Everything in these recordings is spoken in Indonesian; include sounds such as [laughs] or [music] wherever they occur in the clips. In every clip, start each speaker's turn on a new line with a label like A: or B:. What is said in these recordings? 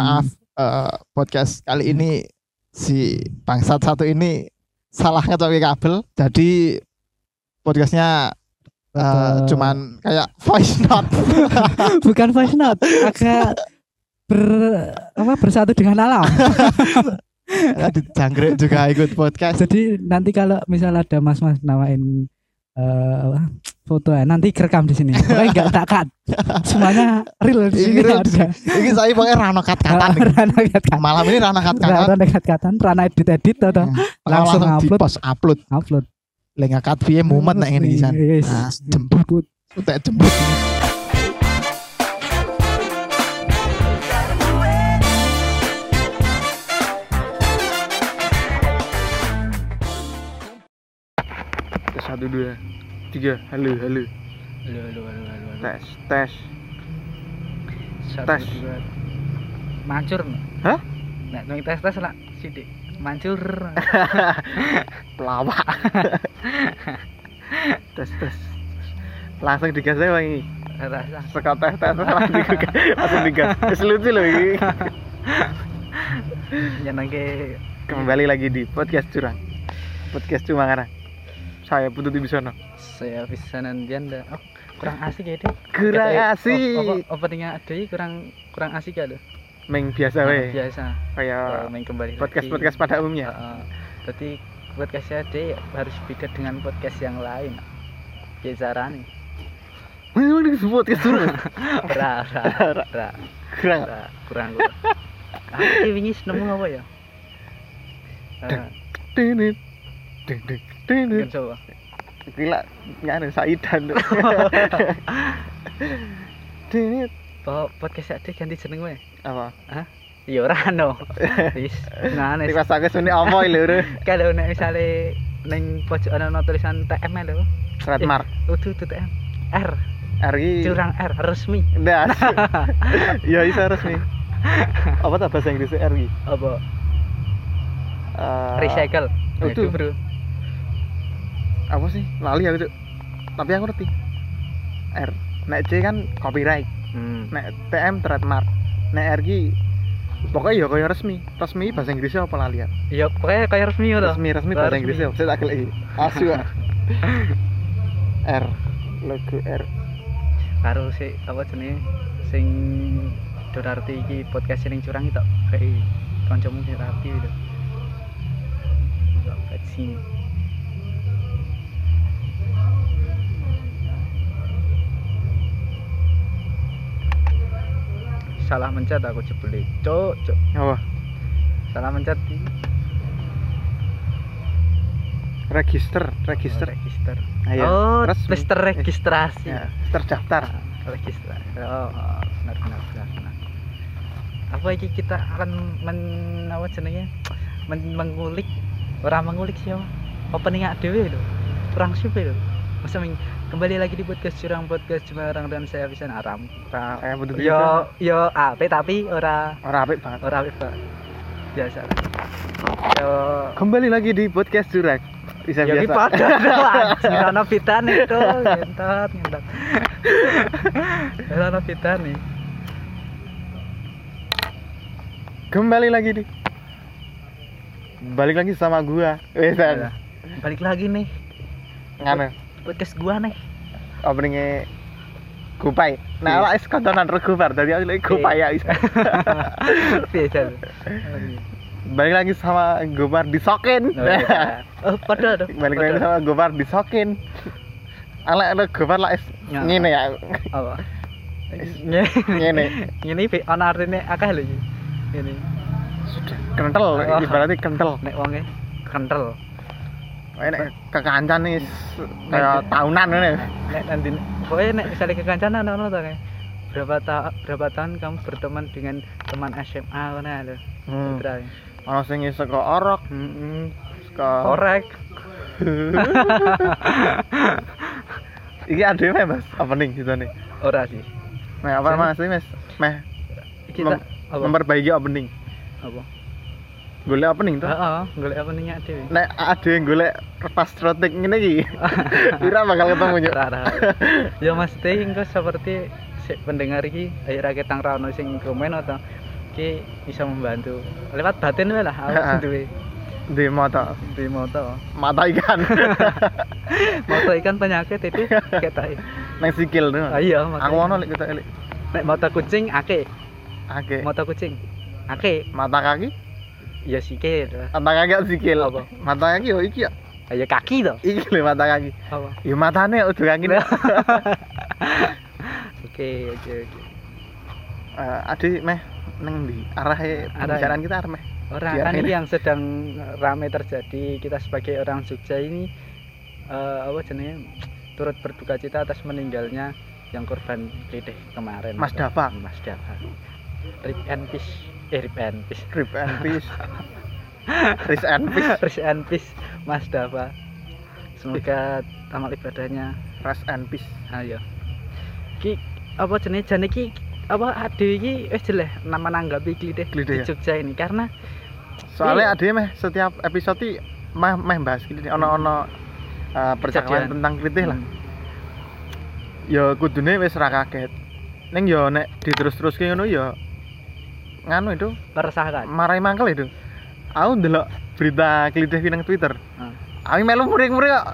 A: maaf eh, podcast kali ini si bangsat satu ini salah ngecoki kabel jadi podcastnya eh,
B: Apa?
A: cuman kayak voice note
B: bukan voice note agak ber apa bersatu dengan
A: [laughs]
B: alam
A: Adit Jangkrik juga ikut podcast
B: jadi nanti kalau misal ada mas-mas namain eh, apa, foto ya nanti rekam di sini pokoknya nggak
A: [laughs]
B: tak cut semuanya real di sini
A: Iya, Real di
B: ada
A: ini saya pakai rano kat katan
B: [laughs] rana cut cut
A: malam ini rano kat katan
B: rana cut cutan rana edit edit atau
A: langsung
B: Langsung
A: di
B: upload.
A: post upload
B: upload Iya,
A: lagi kat piye mumet nek ngene iki San.
B: Yes.
A: Ah, jemput utek jemput
C: tes satu dua tiga halo halo
D: Halo, halo, halo, halo, halo.
C: tes tes
D: Satu,
C: tes.
D: dua. Mancur. Nak.
C: Hah?
D: Nek nang tes tes nak sithik. Mancur.
C: pelawak tes tes langsung digas aja bang ini
D: Rasa.
C: sekot tes tes langsung digas langsung digas Wes lucu loh ini
D: Ya, Nyenengke
C: kembali lagi di podcast curang podcast cuma ngarang saya Putut Ibisono
D: saya pisanan janda. Oh, kurang asik ya, Dek.
C: kurang
D: Apa
C: asik
D: openingnya ada ini kurang kurang asik ya, Dek?
C: Meng biasa
D: Nah,
C: we
D: Biasa. Eh,
C: kayak
D: main kembali
C: ya? podcast
D: lagi.
C: podcast pada umumnya
D: Heeh. Berarti podcastnya ada ya, harus beda dengan podcast yang lain. Ya carane.
C: memang ini podcast
D: [laughs]
C: curang
D: Ora, ora, ora.
C: kurang
D: Ora, kurang
C: [laughs]
D: kurang. Aku ki wingi nemu apa ya? Eh,
C: tenit tenit tenit
D: Mungkin coba.
C: gila nggak ada Saidan Dit.
D: Po podcast adik ganti jeneng wae.
C: apa
D: Ya ora no. [laughs] Wis. Nah, nek
C: tiba sakit ini apa lho lho
D: kalau nek misale ning pojok ana ana tulisan TM ya lho.
C: trademark
D: Udu itu TM. R,
C: hari
D: curang R resmi.
C: nah ya itu harus nih apa tuh bahasa Inggris RI
D: Apa?
C: Eh,
D: Recycle. Ah.
C: udu.
D: Udu, Bro.
C: apa sih lali aku Cuk. tapi aku ngerti R nek C kan copyright
D: Hmm.
C: nek TM trademark nek RI pokoknya ya kaya resmi resmi bahasa Inggrisnya apa lali ya
D: Ya pokoknya kayak resmi ngono.
C: resmi resmi bahasa
D: Resmi.
C: Inggrisnya saya tak lagi asu ah. R logo R
D: Karo si apa jenenge sing Dorarti iki podcast sing curang iki tok kei kancamu sing rapi lho. Tok bajing. salah mencet aku jebule cok cok
C: apa
D: salah mencet di
C: register register
D: register
C: Ayo,
D: oh
C: resmi. Eh.
D: terus terregistrasi
C: ya, terdaftar
D: registrasi oh oh, benar benar benar benar apa iki kita akan men apa jenenge men, mengulik orang mengulik sih apa opening ak dewe lho kurang sip lho masa ming- kembali lagi di podcast curang podcast cuma orang dan saya bisa aram Ra-
C: Nah, kayak betul
D: yo yo ape tapi ora
C: orang apik banget
D: ora ape Pak. biasa lah. yo
C: kembali lagi di podcast curang bisa
D: Ya iki
C: biasa
D: padha to anjir ana pitane to, ngentot ngentot. Ora ana pitane.
C: kembali lagi di balik lagi sama gua
D: Alah,
C: bisa
D: Balik lagi nih
C: ngana
D: podcast gua nih.
C: openingnya kupai
D: Iya.
C: nah lah es kantonan regubar dari aku lagi kupai ya bisa
D: Piye jal?
C: balik lagi sama gopar disokin
D: Oh, padha to.
C: Nah. balik lagi
D: padha.
C: sama gopar disokin ala ala gopar lah es
D: Ya.
C: ngene ya
D: Apa? Ngene.
C: ngene
D: Ngene iki ana artine akeh lho iki. Ngene.
C: kental
D: Oh.
C: ibaratnya kental
D: Nek wonge kental.
C: enak kekancan nih kayak tahunan ini
D: Nek nanti pokoknya nek misalnya ke kancana ana to kayak, Berapa ta berapa tahun kamu berteman dengan teman SMA mana ya, lho?
C: hmm.
D: Putra.
C: ono sing saka orok
D: Heeh.
C: saka
D: Korek.
C: iki ade meh mas apa nih gitu nih
D: Ora sih.
C: meh apa
D: Sini.
C: mas ini mas meh
D: Iki tak
C: Mem-
D: apa?
C: memperbaiki opening
D: apa?
C: golek opening tuh
D: Heeh, golek apa nih nyak dhewe.
C: nek ade yang golek pas rotik ngene iki [laughs] kira bakal ketemu nyok
D: Ora, ora. Ya Mas Teh engko seperti si pendengar iki akhir akeh tang ra ono sing komen atau ki iki bisa membantu lewat batin wae lah
C: Heeh.
D: awak duwe
C: di mata
D: duwe moto
C: mata [laughs] ikan
D: moto ikan penyakit itu ketok
C: nang sikil tuh
D: ah iya
C: aku
D: makanya.
C: ono lek kita lek
D: nek moto kucing akeh
C: ake
D: moto kucing akeh
C: mata kaki
D: ya sikil
C: mata kaki ak sikil
D: Apa?
C: mata kaki yo iki ya
D: Ah, ya kaki to
C: iki lho mata kaki
D: apa
C: yo matane udah kaki lho
D: [laughs] oke oke oke
C: Eh, adi meh neng di arah e
D: Arah. e.
C: pembicaraan kita arah meh
D: orang
C: Biar
D: kan
C: Iya, ini.
D: ini yang sedang rame terjadi kita sebagai orang Jogja ini eh, apa jenenge turut berduka cita atas meninggalnya yang korban kelitih kemarin
C: Mas Dafa.
D: Mas Dafa Rip and Peace eh Rip and Peace
C: Rip and peace
D: [laughs]
C: Rip and peace
D: Rip and Peace Mas Dafa semoga amal ibadahnya
C: Rest and peace
D: ayo ki apa jenenge jan iki apa adewe iki wis jelas nama nanggapi kelitih di
C: Klitih, ya.
D: Jogja ini karena Iya.
C: soalnya ade meh setiap episode i meh meh bahas gitu ono ono eh, percakapan
D: Kejadian. Hmm.
C: tentang kritik lah ya kudune wis ra kaget neng yo nek diterus-terus kayak ngono ya nganu itu
D: meresahkan
C: marai mangkel itu aku ndelok berita kelitih nang Twitter
D: Hmm.
C: Aku melu muring-muring kok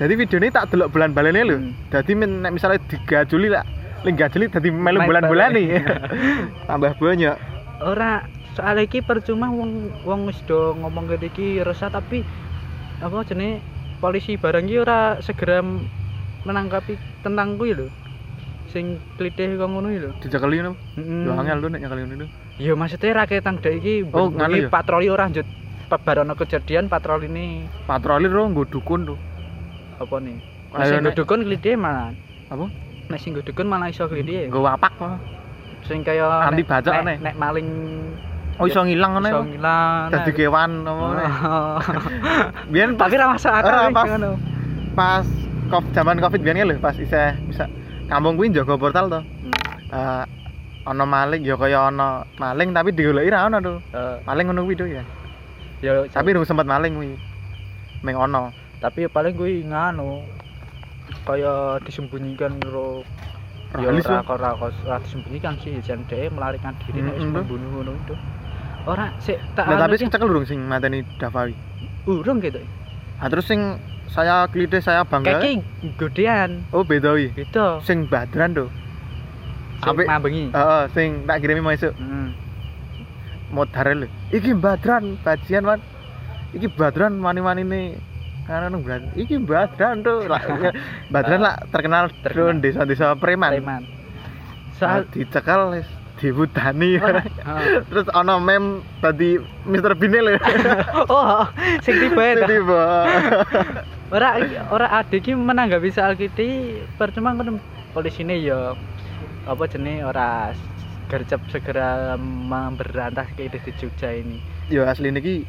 C: jadi video ini tak delok bulan-bulannya lho
D: Hmm.
C: jadi men- nek misalnya 3 Juli lah Lingga Juli jadi melu
D: Main
C: bulan-bulan
D: balik.
C: nih [laughs] tambah banyak
D: ora soal iki percuma wong wong wis do ngomong ngene iki resah tapi apa jenenge polisi barang iki ora segera m- menangkapi tentang kuwi lho sing klitih kok ngono iki lho
C: dicekeli ngono
D: heeh
C: yo angel lu nek nyekeli ngono itu.
D: ya maksudnya raketang dek iki
C: Oh,
D: bengi
C: nganu ya?
D: patroli ora njut pebarono kejadian patroli ini
C: patroli ro nggo dukun tuh
D: apa nih Nek
C: Ayo,
D: sing
C: nek-
D: dukun klitih malah
C: Apa?
D: nek sing dukun malah iso klitih
C: nggo wapak malah.
D: sing kaya
C: Anti
D: nek-
C: bacok
D: nek,
C: nih.
D: nek maling
C: oh iso ngilang ngono
D: iso
C: ya.
D: ngilang Oh.
C: dadi
D: nek-
C: kewan apa ngono. biyen
D: tapi
C: pas
D: ra masuk
C: Ora,
D: akal
C: pas-
D: iki, ngono.
C: pas kov- zaman covid biyen kan lho pas isih bisa kampung kuwi jaga portal to
D: Hmm.
C: Eh ana maling ya kaya ana maling tapi digoleki ra ono tuh
D: Eh,
C: maling ngono kuwi tuh ya
D: ya
C: tapi rung sempat maling kuwi ming ono
D: tapi paling gue nganu kayak disembunyikan karo ya
C: Ralis,
D: ora ora ora disembunyikan sih jan dhek melarikan diri nek wis
C: Mm-mm, Bro.
D: membunuh ngono itu ora sik tak anu
C: nah, tapi
D: iki,
C: cekel durung sing mateni Dafawi
D: urung gitu
C: nah terus sing saya klide saya bangga
D: kaki gedean
C: oh beda wi
D: gitu
C: sing badran tuh
D: sik
C: Apik.
D: mabengi
C: heeh sing tak kirimi mau esuk
D: Hmm.
C: modar lho iki badran bajian man iki badran mani-mani ini karena nung badran iki badran tuh
D: [laughs]
C: lah badran lah terkenal
D: Terkenal.
C: terus desa-desa preman
D: preman
C: nah,
D: soal
C: [laughs] dicekel wis dihutani
D: Oh, Heeh.
C: [laughs] terus ono mem tadi Mr. Bean
D: [laughs]
C: lho
D: oh sing tiba itu
C: tiba
D: ora ora ade iki menanggapi soal kiti percuma kan polisine ya apa jenenge ora gercep segera memberantas kiti di Jogja ini
C: yo asli niki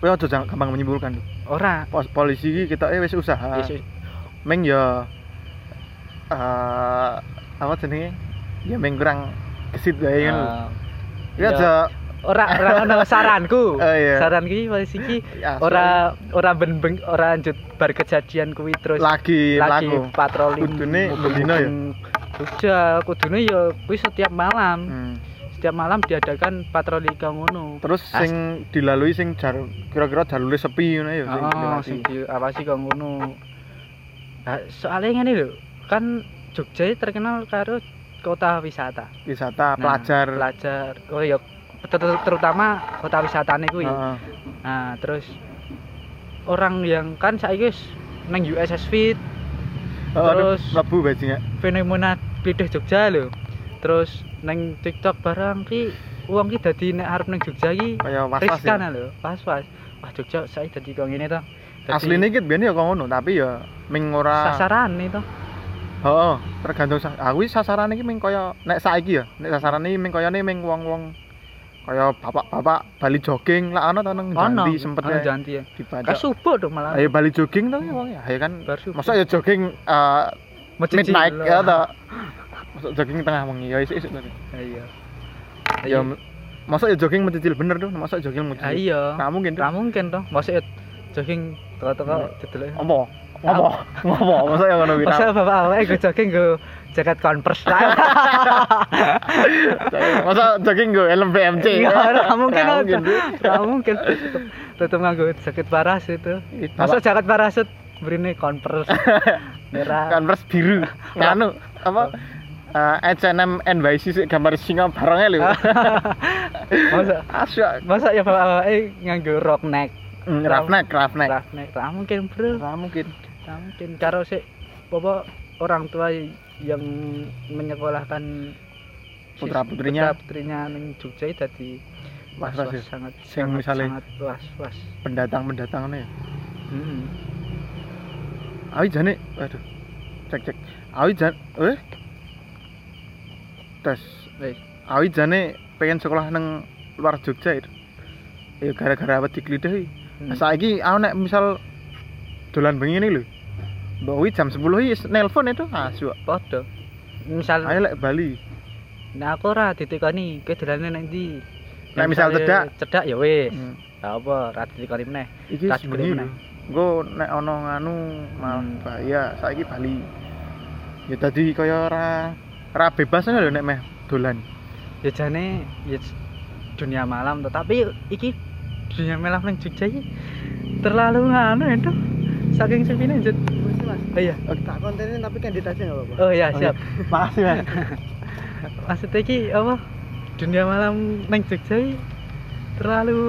C: kowe aja jangan gampang menyimpulkan lho.
D: ora
C: Pos polisi iki kita eh, wis usaha
D: Yesus-
C: meng yo eh apa jenenge ya meng kurang kesit wae
D: eh,
C: ngono lho.
D: iya.
C: Ya aja
D: ora ora
C: [laughs]
D: ono saranku
C: Oh, iya.
D: saranku iki polisi iki
C: ya,
D: ora ora ben ben ora lanjut bar kejadian kuwi terus
C: lagi
D: lagi
C: iya, laku
D: patroli
C: Kudune
D: mubeng-mubeng
C: bendina ya?
D: Jogja kudune ya kuwi setiap malam
C: Hmm.
D: setiap malam diadakan patroli kang ngono
C: terus
D: As-
C: sing dilalui sing jar kira-kira jalure sepi ngono ya sing
D: Oh,
C: dilewati.
D: sing diawasi kok ngono. Nah, soalnya ngene lho, kan Jogja ini terkenal karo kota wisata.
C: wisata
D: Nah,
C: pelajar
D: Pelajar. Oh ya ter- ter- terutama kota wisatane kuwi.
C: Heeh.
D: Nah, terus orang yang kan saiki wis nang USS Fit
C: Oh, aduh,
D: terus-
C: mlebu bajingan
D: fenomena bidih Jogja lho. Terus nang TikTok barang ki wong ki dadi nek arep nang Jogja ki
C: kaya was-was ya.
D: riskan lho, pas-pas. Wah, Jogja saiki dadi kok ngene to. Dadi
C: asline iki biyen ya kok ngono tapi ya ming ora
D: sasaran to.
C: heeh tergantung sa- aku iki sasarane iki ming kaya nek saiki ya nek sasarane iki ming kayane ming wong-wong kaya bapak-bapak Bali jogging lah ana to nang
D: ono
C: ganti sempet
D: ono
C: ya
D: janti ya
C: dibajak
D: Kayak subuh dong malah
C: ayo Bali jogging to wong ya ayo kan
D: bar subuh
C: masa ya jogging eh,
D: Masjid
C: midnight
D: Cilo.
C: ya ta masuk jogging tengah wengi ya isuk-isuk tadi
D: iya
C: ya m- masuk ya jogging mencicil bener tuh masuk jogging
D: Ah,
C: mencicil
D: iya
C: nggak mungkin tuh
D: ra mungkin toh masa ya jogging teko-teko didelok
C: apa Ngopo? Ngopo? Masa yang ngono kita?
D: Masa bapak awake gue jogging gue jaket converse [laughs] lah.
C: Masa jogging gue helm BMC?
D: Iya, nggak mungkin
C: Nggak
D: ada.
C: Dwi.
D: Nggak mungkin. Tutup, tutup nganggo jaket parasut itu. Masa
C: Masa
D: jaket parasut brine [laughs] converse. Merah.
C: Converse kan biru. Nganu
D: [laughs]
C: apa? Eh, H&M NYC sih gambar singa barangnya lho.
D: Ah. Masa
C: Asyik.
D: masa ya bapak awake nganggo rock neck.
C: Hmm, Roughneck, roughneck.
D: Rock neck. Nggak mungkin, Bro.
C: Nah, mungkin.
D: Nah, mungkin karo sik apa orang tua yang menyekolahkan
C: Putra putrinya.
D: putra putrinya ning Jogja itu tadi was
C: Mas-mas
D: was
C: ya?
D: sangat
C: Sing
D: sangat,
C: misalnya-
D: sangat was was
C: Pendatang-pendatang nih.
D: hmm.
C: Awi jane, waduh. Cek cek. Awi jan, eh. Tes.
D: Wes.
C: Awi jane pengen sekolah neng luar Jogja itu. Ya gara-gara apa diklidhi.
D: Hmm.
C: Saiki aku nek misal dolan bengi ini lho. Mbak Wi jam 10 wis nelpon itu asu.
D: podo misal
C: Ayo lek Bali.
D: nah aku ora ditekoni kowe dolane nang ndi
C: Nek misal cedak.
D: cedak ya wis
C: Hmm.
D: Gak apa ora ditekoni meneh
C: Iki
D: Tak
C: sebenarnya
D: boleh
C: lho. Engko nek ana nganu malah
D: Hmm.
C: bahaya saiki Bali. Ya tadi kaya ora ora bebas ngono lho nek meh dolan.
D: ya jane ya j- dunia malam tuh tapi iki dunia malam nang Jogja iki terlalu nganu itu saking sepine Jud.
E: mas
D: oh iya
E: tak kontenin tapi kandidatnya nggak apa-apa
D: oh iya
C: Oh,
D: siap
C: Makasih, Mas.
D: maksudnya ki apa dunia malam neng Jogja ini terlalu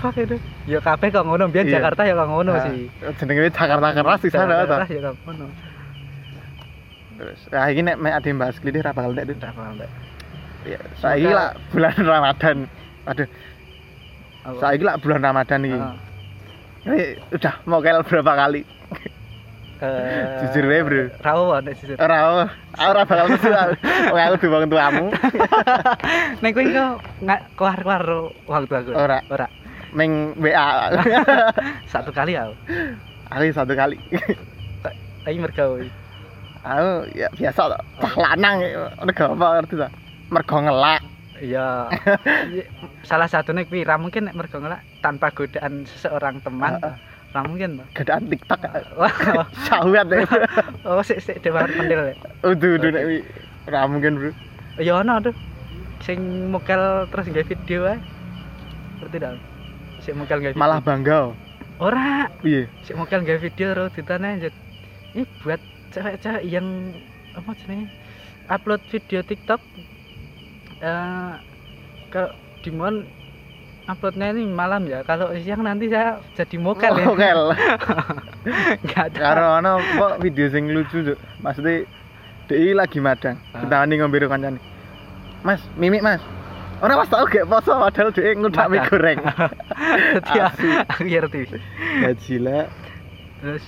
D: fuck itu ya kabeh kok ngono biar
C: Iya.
D: Jakarta ya kok ngono
C: Nah,
D: sih
C: Jenenge Jakarta keras di sana ta.
D: Jakarta ya kok ngono
C: Terus ah iki nek mek ade bahas klidih ra bakal nek.
D: Entah paham tak Iya,
C: Ya saiki lah bulan Ramadan. Aduh,
D: Apa?
C: saiki lah bulan Ramadan iki.
D: Ah.
C: Eh, udah mau kel berapa kali?
D: Eh,
C: Jujur wae, Bro. Ah.
D: ra apa nek jujur
C: Ora ora bakal metu. Wong aku dibang tuamu.
D: nek kowe kok nggak keluar-keluar waktu aku
C: Ora.
D: ora
C: Ming WA.
D: satu kali aku
C: Aku satu kali.
D: lagi mergawe
C: Aku ya biasa to. Cah lanang mergo apa ngerti ta? Mergo ngelak. [laughs]
D: Iya. Iya, Salah satunya kuwi ra mungkin nek mergo ngelak tanpa godaan seseorang teman.
C: Heeh.
D: Ra mungkin. Pak.
C: Gedaan TikTok.
D: Wah,
C: Sawet.
D: oh sik sik dewa pendel.
C: Udu udu nek wi. Ora mungkin, Bro.
D: Ya ono tuh. Sing mukel terus nggawe video ae. Ngerti dak? Sik mukel nggawe video.
C: Malah bangga. oh.
D: ora,
C: Piye?
D: sik mukel nggawe kan video terus ditane anjir. Ini buat cewek-cewek yang apa jenenge? Upload video TikTok eh kalau Dimon uploadnya ini malam ya kalau siang nanti saya jadi mokel ya [laughs]
C: Mokel.
D: Enggak ada.
C: Karo ana kok video sing lucu, Cuk. Maksudnya DI lagi madang.
D: Ah.
C: Ditawani ngombe karo kancane. Mas, mimik Mas. Ora pas tau gak poso padahal DI ngudak mie
D: Madang. [laughs]
C: goreng.
D: Jadi [laughs]
C: Asu.
D: aku ngerti.
C: Gajila.
D: Terus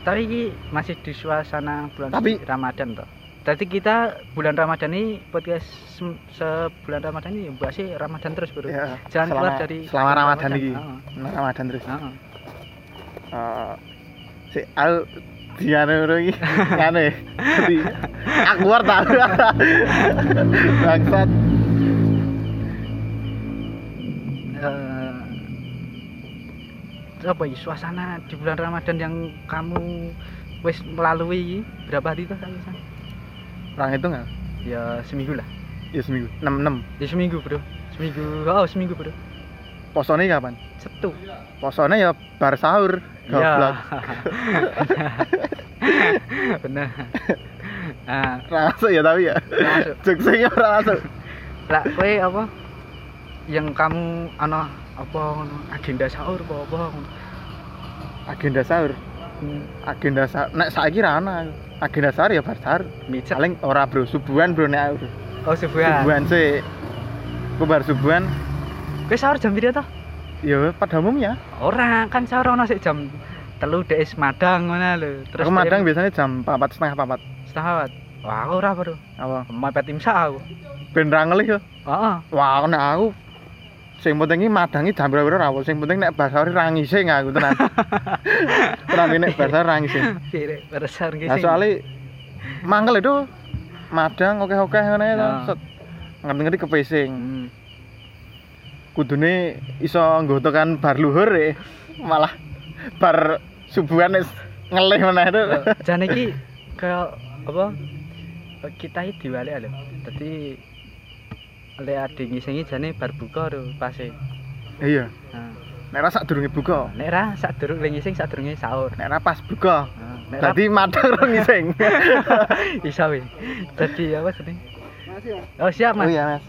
D: tapi ini masih di suasana bulan
C: Tapi-
D: suci Ramadan toh. Jadi kita bulan Ramadan ini podcast se- sebulan Ramadan ini bahasnya Ramadan terus bro.
C: Ya,
D: Jangan
C: selama-
D: keluar dari Ah.
C: selama
D: bulan
C: Ramadan iki.
D: Heeh,
C: Nah, Ramadan terus.
D: heeh.
C: Eh, si al diane ora
D: [laughs]
C: iki. Ngene. Jadi aku war tak. [laughs] Bangsat.
D: Eh, apa ya suasana di bulan Ramadan yang kamu wis melalui berapa hari tuh Kang Isan?
C: Orang itu enggak?
D: Ya seminggu lah.
C: Ya seminggu. 66.
D: Ya seminggu bro. Seminggu. Oh seminggu bro.
C: Posone kapan?
D: Setu.
C: Posone ya bar sahur. Goblok.
D: Ya. [laughs] Benar. Nah,
C: Ora masuk ya tapi ya.
D: masuk.
C: Jek sing ora masuk.
D: Lah kowe apa? Yang kamu ana apa ngono agenda sahur apa apa ngono.
C: Agenda sahur.
D: Hmm,
C: Agenda sahur. Nek saiki ra ana. aku. Agenda sahur ya bar sahur.
D: Micet.
C: Paling ora bro, subuhan bro nek aku.
D: Oh subuhan.
C: Subuhan sih. Aku bar subuhan
D: Kowe sahur jam pira toh?
C: ya pada umumnya.
D: Ora, kan sahur ana sik jam telu dek is madang ngono lho. Terus
C: aku madang
D: dek
C: biasanya jam 4 setengah 4.
D: setengah wat. Wah, aku ora bro.
C: Apa?
D: Mepet imsak aku.
C: ben ra ngelih yo.
D: Heeh.
C: Wah, nek aku sing penting iki madangi jam pira-pira ra apa. Sing penting nek basari ra ngising aku
D: [laughs]
C: tenan. tenan iki nek basari ra ngising.
D: Piye rek, bar sahur iki
C: Nah,
D: sing-
C: soalnya mangkel itu madang oke-oke ngene to.
D: Nah.
C: set. Ngerti-ngerti kepesing.
D: Hmm.
C: Kudune iso nggotokan bar luhur ya. Malah bar e, subuhan wis ngelih meneh itu.
D: Jan iki kayak apa? Kita iki diwalek lho. Dadi lek ade ngisengi jane bar buka lho pase.
C: Iya.
D: Nah,
C: Nek ra sadurunge buka.
D: nek ra sadurung lek ngising sadurunge sahur.
C: Nek ra pas buka.
D: Nah, nek ra
C: Dadi [laughs] madang rong ising.
D: [laughs] iso wis. Dadi apa jeneng?
E: Masih ya?
D: Oh, siap,
C: Oh
D: Mas.
C: iya, Mas.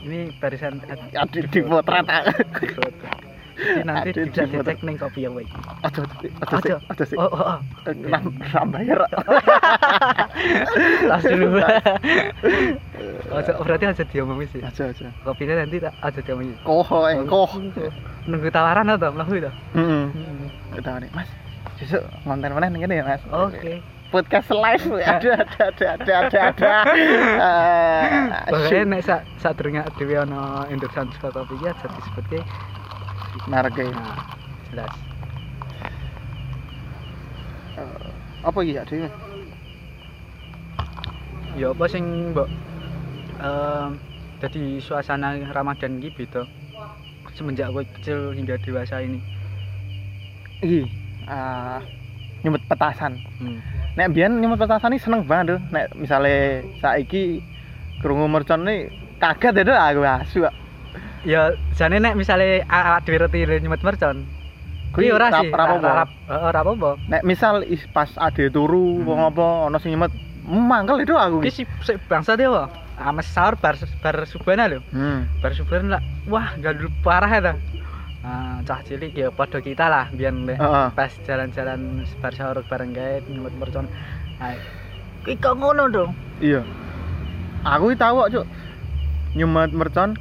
D: Ini barisan
C: Adi dipotret.
D: Jadi nanti tidak
C: Aduh, dipotret.
D: dicek ning kopi ya, Wei.
C: Aja aja
D: Aja.
C: aja sih.
D: Oh, oh, oh.
C: Sambayar.
D: Tas dulu. Ojo berarti aja diomongin sih.
C: Aja aja.
D: Kopinya nanti tak aja diomongin.
C: Koho
A: Eh,
D: e.
C: engkoh.
D: Nunggu tawaran atau mlaku itu?
C: Heeh.
D: Hmm.
C: Udah nih, Mas. Besok konten meneh ning kene ya,
A: Eh,
C: Mas.
D: Oke.
C: podcast live ada ada ada ada ada ada Eh,
D: Pokoknya
C: shoot.
D: nek sak sak durunge dhewe ana induction suka kopi ya jadi seperti
C: Menarik ya.
D: nah jelas.
C: Eh, apa iki ya Dewi?
D: Ya apa sing mbok em jadi suasana Ramadan iki beda semenjak aku kecil hingga dewasa ini.
C: iki eh, nyumet petasan
D: Hmm.
C: nek biyen nyumet petasan ini seneng banget tuh nek misale saiki krungu mercon ini kaget ya tuh aku asu Kak.
D: Ya jane nek misale awak dhewe reti nyumet mercon,
C: Kui
D: kuwi ora
C: rap-
D: sih.
C: rap apa?
D: Ora ora apa-apa.
C: nek misal is pas ade
D: Hmm.
C: turu wong apa ono sing nyumet mangkel itu aku
D: Iki
C: Ki.
D: si si bangsa dewa. Ames sahur bar bar subana lho.
C: hmm.
D: Bar subana lah. Wah, gandul parah ya ta. Ah, cah cilik ya padha kita lah biar nek
C: Heeh.
D: pas jalan-jalan bar sahur bareng gaet nyumet mercon. Ah, Kuwi kok ngono dong.
C: iya aku iki tahu kok cuk nyumet mercon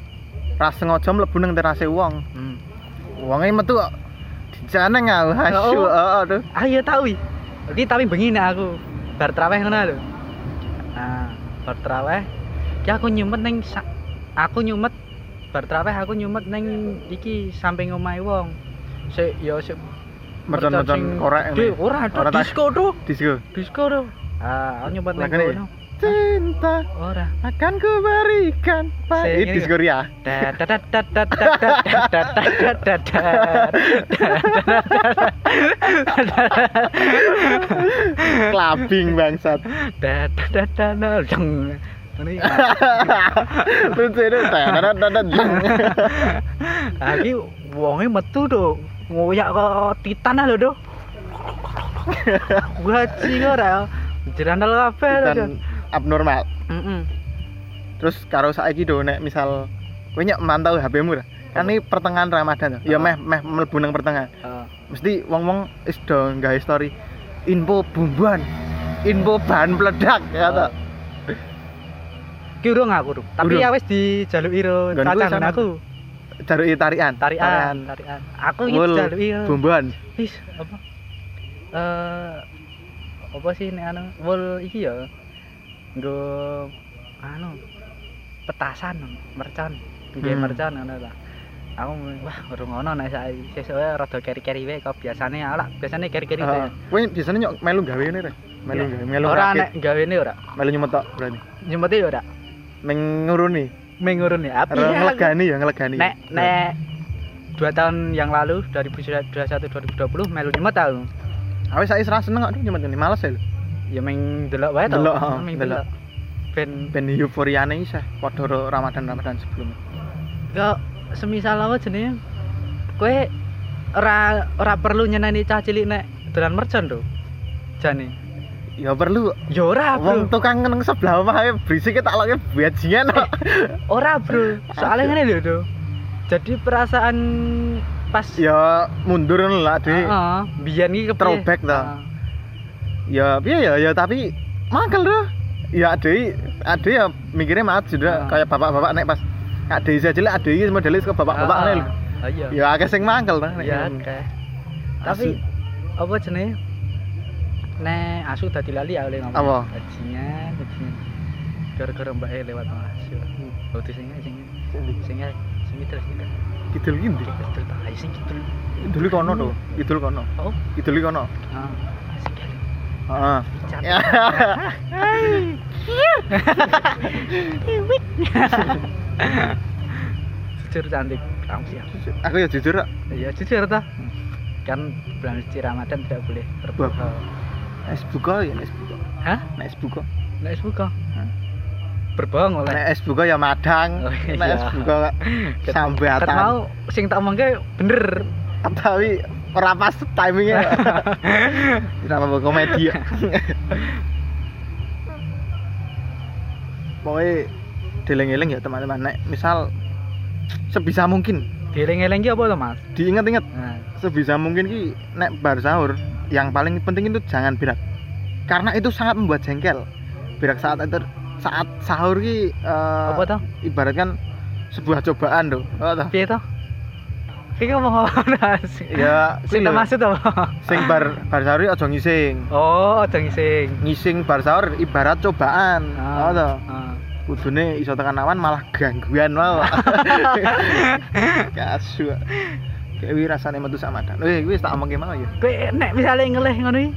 C: ras sengaja mlebu nang terase wong
D: Hmm.
C: Wonge metu kok dijaneng aku hasu
D: Oh.
C: heeh tuh.
D: Ah iya tau iki. Iki tapi bengi nek aku bar traweh ngono lho. Ah, bar traweh. Ki aku nyumet ning sa- aku nyumet bar traweh aku nyumet ning iki samping omahe wong. Sik ya sik
C: Mercon-mercon
D: sing
C: korek
D: gede.
C: ngene.
D: Ora
C: Ora
D: ada
C: tak-
D: disco tuh.
C: Disco.
D: Disco tuh. Ah, aku nyumet ning
C: Lah, kene.
D: kono.
C: Cinta
D: Ora.
C: akan kuberikan. Pak.
D: Sing
C: Ini
D: ini
C: disco ya.
D: Dat, dat, dat, dat, dat, dat, dat, dat, dat, dat, dat, dat.
C: Klabing
D: [laughs]
C: bangsat.
D: Dat, dat, dat, dat, dat. Jeng. Ini,
C: Lucu itu. Tadadadadad.
D: ah, Iki wonge metu tuh ngoyak kok titan lho tuh. Gaji ora. Jerandal kabeh lho.
C: Dan
D: Dok.
C: abnormal.
D: Heeh.
C: Terus karo saiki do nek misal kowe nyek mantau HP-mu ra. Kan ini pertengahan Ramadan ya. Ya
D: Oh.
C: meh meh mlebu nang pertengahan. Mesti wong-wong is do nggawe story info bumbaan. Info bahan peledak ya
D: [coughs]
C: toh.
D: Ki urung aku, Rup. tapi ya
C: Urung.
D: wis dijaluki ro
C: Nggonku
D: cacangan
C: sama.
D: aku.
C: Jaruki tarian.
D: Tarian, tarian. Aku iki
C: Wul.
D: dijaluki ro.
C: Bumbaan.
D: Wis apa? Eh apa sih nek anu wol iki ya. Nggo anu petasan mercon, nggih
C: Hmm.
D: mercon ngono ta. Aku mulai, wah urung ono nek saiki sesuk wae rada keri-keri wae kok biasane ala biasane keri-keri wae.
C: Heeh. Kowe biasanya nyok melu gawe ngene ra. Melu
D: Iya.
C: gawe Ah, melu
D: ora
C: rakit.
D: nek gawene ora.
C: melu nyumet tok berarti.
D: Nyemete ya ora.
C: Ning nguruni,
D: Mengurun ya. Tapi
C: Ora
D: ya,
C: ngelegani ya ngelegani.
D: [laughs] nek nek dua tahun yang lalu 2021 2020 melu nyemet aku.
C: awis saiki serah seneng kok nyumet ngene, males ya. lho.
D: ya main delok wae to
C: Delok, oh,
D: main
C: delok.
D: delok ben
C: Ben euforiane isih padha ro Ramadan-Ramadan sebelumnya.
D: kok semisal apa jenenge kowe ora ora perlu nyeneni cah cilik nek dolan mercon to jane
C: Ya perlu
D: ya ora Ah, bro
C: wong tukang nang sebelah omahe berisik tak loke
D: [laughs]
C: bajingan kok.
D: ora bro soalnya ngene lho to jadi perasaan pas
C: Ya mundur ngono lah Dik.
D: heeh biyen iki kepiye
C: Throwback ta.
D: Heeh.
C: Ya piye ya ya tapi mangkel loh. Ya ade ade ya mikirnya maju juga
D: Ah.
C: kayak bapak-bapak nek pas ade isih cilik ade iki modelnya suka bapak-bapak
D: Heeh.
C: ngene lho.
D: Ah, iya
C: Ya akeh sing mangkel nah.
D: ya akeh. tapi apa jenenge nek asu dadi lali ya oleh ngomong
C: Apa?
D: bajingan bajingan gara-gara mbak e lewat sama asu oh di sini sini sini sini terus kita
C: kidul iki ndi?
D: kita terus tak gitu ayo sing kita
C: Kidul kono to, kidul kono.
D: oh
C: Kidul kono.
D: ah sing kita
C: Heeh.
D: bicara jujur cantik kamu sih
C: Aku ya jujur
D: iya jujur ta kan bulan suci Ramadan tidak boleh berbuka.
C: Wah. es buka ya es buka
D: Hah?
C: Nek es buka
D: Nek es buka.
C: Hah?
D: Berbohong oleh.
C: Nek es buka ya madang
D: Oh,
C: Nek
D: iya.
C: es
D: [laughs]
C: buka
D: Ket- Ket
C: sambatan
D: mau sing tak omongke bener.
C: tapi ora pas
D: [laughs]
C: timingnya kenapa mau komedi ya pokoknya dileng-eleng ya teman-teman nek misal sebisa mungkin
D: Dieling-eling ki apa to, Mas?
C: diingat-ingat
D: Nah,
C: sebisa mungkin ki nek bar sahur yang paling penting itu jangan berak karena itu sangat membuat jengkel berak saat itu saat sahur ki eh,
D: apa to?
C: ibaratkan sebuah cobaan tuh Oh, toh.
D: Piye to? Ki ngomong apa, [laughs] Mas?
C: ya
D: Sing tak
C: kuwi lho.
D: maksud apa? [laughs]
C: sing bar bar sahur ki aja ngising
D: Oh, aja ngising.
C: ngising bar sahur ibarat cobaan
D: Ah.
C: oh toh
D: Ah.
C: kudune iso tekan awan malah gangguan wae [laughs] kasu kayak wih rasanya metu sama dan wih wis tak omongke mau ya
D: Kowe nek misale ngeleh ngono iki.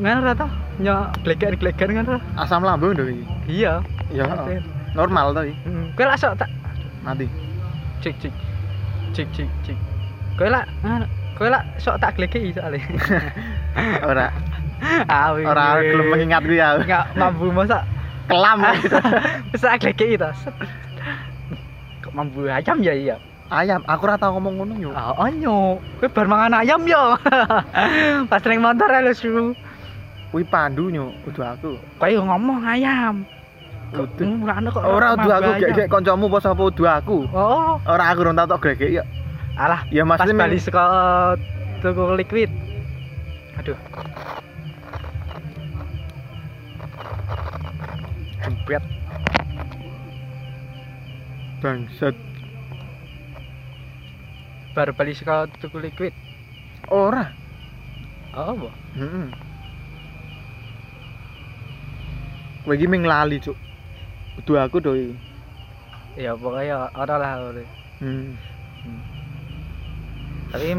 D: Ngono ra to? Nyok bleger-bleger ngono ra?
C: asam lambung dong iki
D: Iya.
C: ya
D: Heeh.
C: normal tuh
D: Kowe lak sok tak
C: [laughs] mati
D: cik cik cik cik cik kowe lak ah, kowe lak sok tak gleki soalé
C: ora
D: [laughs] ah wih,
C: ora
D: wih.
C: belum mengingat gue ya
D: nggak mampu masa
C: kelam
D: [laughs]
C: gitu.
D: bisa gleki itu gitu, kok mampu ayam ya iya
C: ayam aku ora tau ngomong ngono yo
D: ah onyo kowe bar mangan ayam yo [laughs] pas ning motor ya lu su
C: kuwi pandu yo kudu aku
D: kowe ngomong ayam Kok
C: kudu
D: ngurane kok
C: ora kudu aku
D: mampu ayam?
C: gek kancamu apa sapa kudu aku
D: oh
C: ora aku ora tau tok gregek ya
D: alah
C: ya
D: pas
C: maksudnya
D: bali saka tuku liquid aduh jempet
C: bangsat
D: bar bali saka tuku liquid
C: ora
D: oh apa
C: Heeh. Kowe iki ming lali, Cuk. Kudu aku to iki.
D: ya pokoknya ora lah ora.
C: Hmm. [laughs]
D: tapi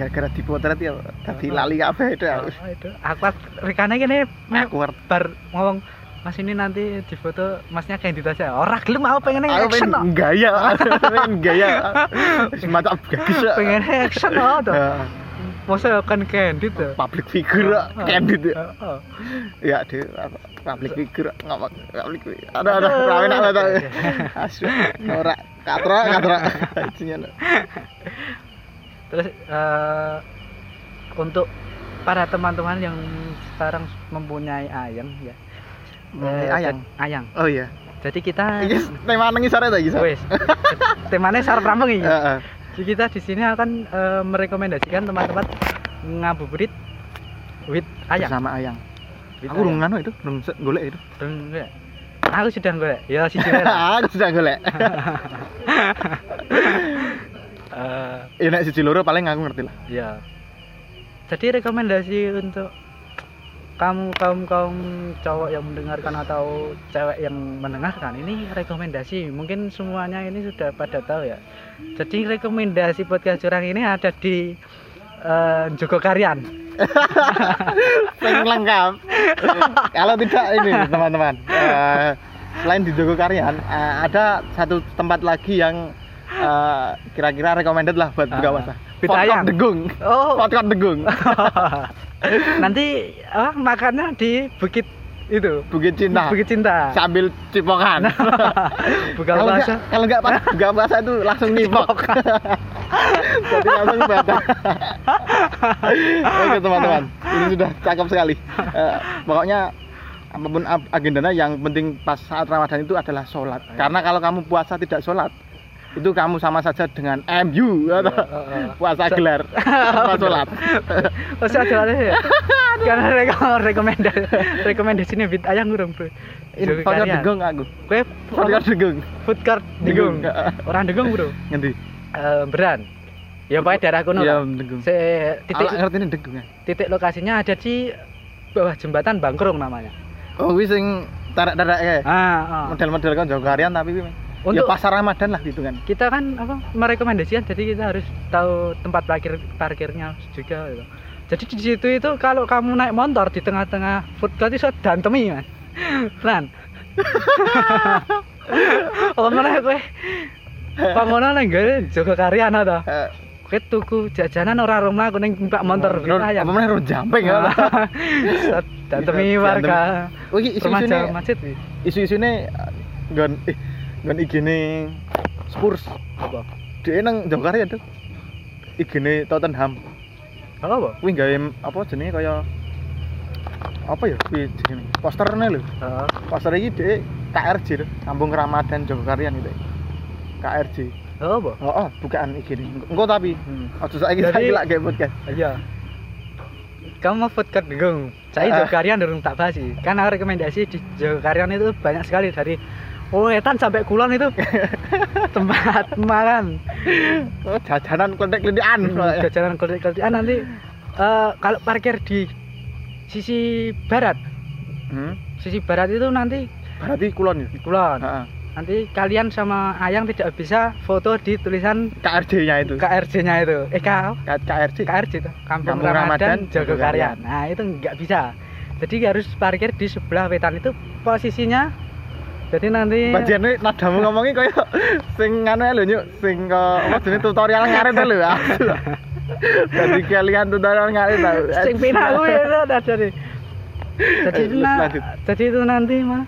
C: Gara-gara dipotret ya dadi lali kabeh to aku.
D: Oh, itu aku rekane kene mek
C: Aku wer-
D: bar ngomong Mas ini nanti di foto masnya kayak ditas ya. Ora gelem aku pengen
C: aku
D: action kok.
C: pengen [laughs] gaya, aku pengen gaya. Cuma tak bagus. ya.
D: Pengen
C: [laughs]
D: action kok tuh.
C: Ya,
D: Masa kan candid tuh.
C: public figure ya, candid ya.
D: Heeh.
C: ya deh apa, public figure ngomong public figure ada ada rawe nak ada asu ora katra katra [laughs] Jinnya,
D: [laughs] Terus eh, untuk para teman-teman yang sekarang mempunyai ayang ya.
C: Mempunyai Iya.
D: Eh,
C: ayang?
D: Ayang.
C: oh [laughs] iya
D: Jadi kita
C: iki tema nangis sore ta iki sore
D: wes. Temanya sarap rambang iki.
C: heeh
D: Jadi kita di sini akan eh, merekomendasikan tempat-tempat ngabuburit with ayam.
C: sama ayang
D: With ayam.
C: aku rung anu itu rung se- golek itu
D: Belum golek. Aku sudah golek. Ya si
C: [laughs]
D: Cilera.
C: aku sudah Ah, golek
D: Eh,
C: ya nek siji loro paling aku ngerti lah
D: ya. Jadi rekomendasi untuk kamu kaum kaum cowok yang mendengarkan atau cewek yang mendengarkan ini rekomendasi mungkin semuanya ini sudah pada tahu ya jadi rekomendasi podcast curang ini ada di eh, Jogokarian
C: paling lengkap [laughs] kalau tidak ini teman-teman eh, selain di Jogokarian eh, ada satu tempat lagi yang eh, kira-kira recommended lah buat buka
D: Ah,
C: puasa
D: Bit
C: Potkot
D: Ayang.
C: Degung
D: oh
C: Potkot
D: [laughs]
C: Degung
D: nanti apa makannya di bukit itu
C: Bukit Cinta
D: bukit cinta
C: sambil cipokan
D: buka
C: kalau
D: puasa
C: nggak kalau nggak pas buka puasa itu
D: [laughs]
C: langsung nipok jadi langsung batal oke teman-teman ini sudah cakep sekali Eh, pokoknya apapun ap- agendanya yang penting pas saat ramadan itu adalah sholat
D: Iya.
C: karena kalau kamu puasa tidak sholat itu kamu sama saja dengan MU
D: Iya.
C: atau
D: eh,
C: puasa
D: [laughs]
C: gelar tanpa sholat
D: Usah jalan ya. Karena rekom rekomendasi rekomendasinya bit ayam ngurung bro.
C: ini pokoknya degung aku
D: Kue
C: pokoknya degung
D: food cart degung. Orang degung bro.
C: ngerti
D: Eh, Beran. Ya Ah, eh. pakai daerah kuno.
C: ya
D: lah.
C: degung
D: Se titik
C: Alak ngerti ini degung ya
D: titik lokasinya ada di bawah jembatan Bangkrung namanya.
C: oh wis sing tarak-tarak kayak
D: Ah, ah.
C: model-model kan jauh harian tapi ya
D: Untuk
C: pasar Ramadan lah gitu kan.
D: kita kan apa merekomendasikan jadi kita harus tahu tempat parkir parkirnya juga gitu. jadi di situ itu kalau kamu naik motor di tengah-tengah food court itu dantemi mas Lan apa mana kowe pangono nang gone jaga karyan ta
C: Eh,
D: Kowe tuku jajanan ora ora mlaku ning Pak Montor
C: Ron-
D: ayam.
C: apa meneh ron jamping
D: [laughs]
C: ya.
D: Nah.
C: [laughs]
D: Datemi warga
C: Oh iki isu-isune
D: remaja masjid wi.
C: isu-isune eh, nggon eh nggon igine Spurs
D: Apa?
C: Dhewe nang Jogare ya, Dok. Igine Tottenham.
D: Apa?
C: Kuwi gawe apa jenenge kaya apa ya kuwi jenenge posterne lho.
D: Heeh.
C: Poster iki dhek KRJ Dok. Kampung Ramadan Jogokarian itu. KRJ.
D: Apa?
C: Heeh, Oh, bukaan igine. Engko tapi
D: Hmm.
C: aja saiki
D: Jadi-
C: saiki lak gawe podcast.
D: Iya. Kamu mau food court dong. Saya
C: Ah.
D: Jogokarian durung tak bahas sih. Karena rekomendasi di Jogokarian itu banyak sekali dari Wetan sampai Kulon itu tempat makan.
C: Oh, jajanan
D: [laughs]
C: ya. klentek-klentekan. soalnya.
D: Jajanan keltik-keltikan Ah, nanti eh, kalau parkir di sisi barat,
C: Hmm.
D: sisi barat itu nanti
C: Berarti kulon ya.
D: Kulon.
C: Heeh.
D: Nanti kalian sama Ayang tidak bisa foto di tulisan
C: KRJ-nya itu.
D: KRJ-nya itu. Eh, K-
C: K- KRJ.
D: KRJ itu Kampung,
C: Kampung
D: Ramadan,
C: Ramadan,
D: Jogokarian.
C: Jogokarian.
D: Nah itu nggak bisa. Jadi harus parkir di sebelah wetan itu posisinya. Jadi nanti
C: Bagian ini nadamu ngomongi kaya sing anu ya lho nyuk sing ke apa jenis tutorial ngarit ya lho
D: [laughs]
C: ya. Jadi kalian tutorial ngarit tau.
D: sing pina
C: [laughs]
D: aku ya itu ada jadi. Jadi
C: Eh,
D: itu na-
C: lanjut.
D: jadi itu nanti mah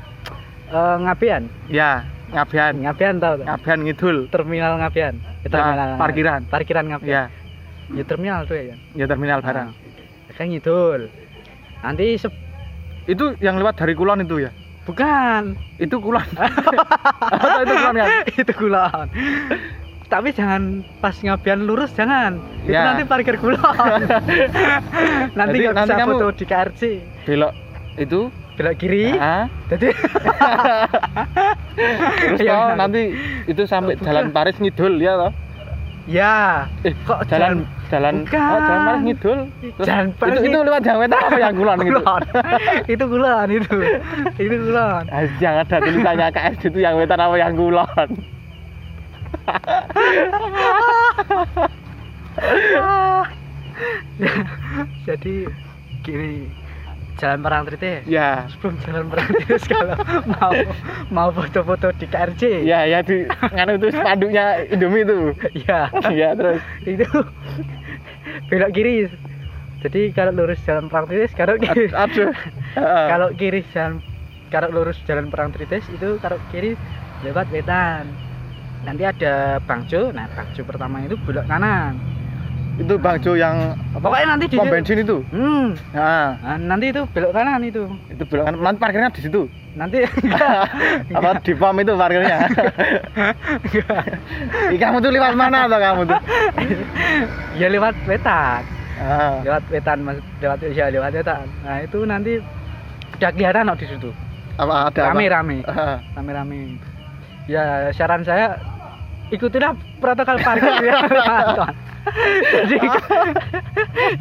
D: eh, ngabian,
C: Ya, ngabian.
D: ngabian tau tak?
C: Ngabian ngidul.
D: Terminal ngabian. Ya,
C: Nah, parkiran.
D: Parkiran ngabian.
C: Ya,
D: Ya terminal tuh ya.
C: ya terminal
D: Ah.
C: barang.
D: Nah, kan ngidul. Nanti se-
C: Itu yang lewat dari kulon itu ya.
D: bukan
C: Itu
D: [laughs]
C: kulon. Atau itu kulon kan?
D: itu kulon tapi jangan pas ngabian lurus jangan itu
C: Ya.
D: nanti parkir
C: [laughs]
D: kulon nanti
C: Jadi
D: nggak
C: nanti
D: bisa
C: kamu-
D: foto di KRC
C: Belok itu.
D: belok kiri
C: Heeh.
D: jadi [laughs]
C: Terus
D: Iya,
C: toh,
D: benar.
C: nanti itu sampai jalan Paris ngidul ya toh.
D: ya
C: Eh,
D: kok
C: jalan jalan
D: Bukan.
C: oh, jalan Paris ngidul. Terus
D: Jalan Paris
C: itu, itu
D: ngidul.
C: lewat jalan apa yang kulon
D: jalan-
C: gitu. [laughs]
D: kulon itu kulon itu itu kulon
C: Ah, yang ada tulisannya KFC itu yang wetan apa yang kulon
D: jadi kiri jalan perang trites
C: ya
D: sebelum jalan perang trites kalau [laughs] mau mau foto-foto di KRC
C: ya ya di nganu itu spanduknya Indomie itu
D: ya.
C: ya terus
D: itu belok kiri jadi kalau lurus jalan perang tritis kalau kiri
C: Ad- aduh Heeh.
D: kalau kiri jalan kalau lurus jalan perang tritis itu kalau kiri lewat wetan nanti ada bangjo nah bangjo pertama itu belok kanan
C: itu Bang Jo yang apa
D: pokoknya nanti di
C: pom bensin itu
D: hmm
C: nah
D: nah, nanti itu belok kanan itu
C: itu belokan nanti parkirnya di situ [laughs]
D: nanti
C: apa di pom itu parkirnya Ih, kamu tuh lewat mana atau kamu tuh
D: ya lewat wetan
C: Ah,
D: lewat wetan mas lewat ya lewat wetan nah itu nanti udah kelihatan kok di situ
C: apa ada apa?
D: rame rame
C: Heeh.
D: rame-rame ya saran saya ikutilah protokol parkir ya [laughs] kawan. jadi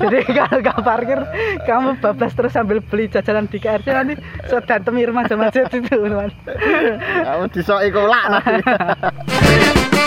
D: jadi kalau nggak parkir kamu bablas terus sambil beli jajanan di KRC nanti sedan temi remaja masjid itu teman
C: kamu disoi kolak nanti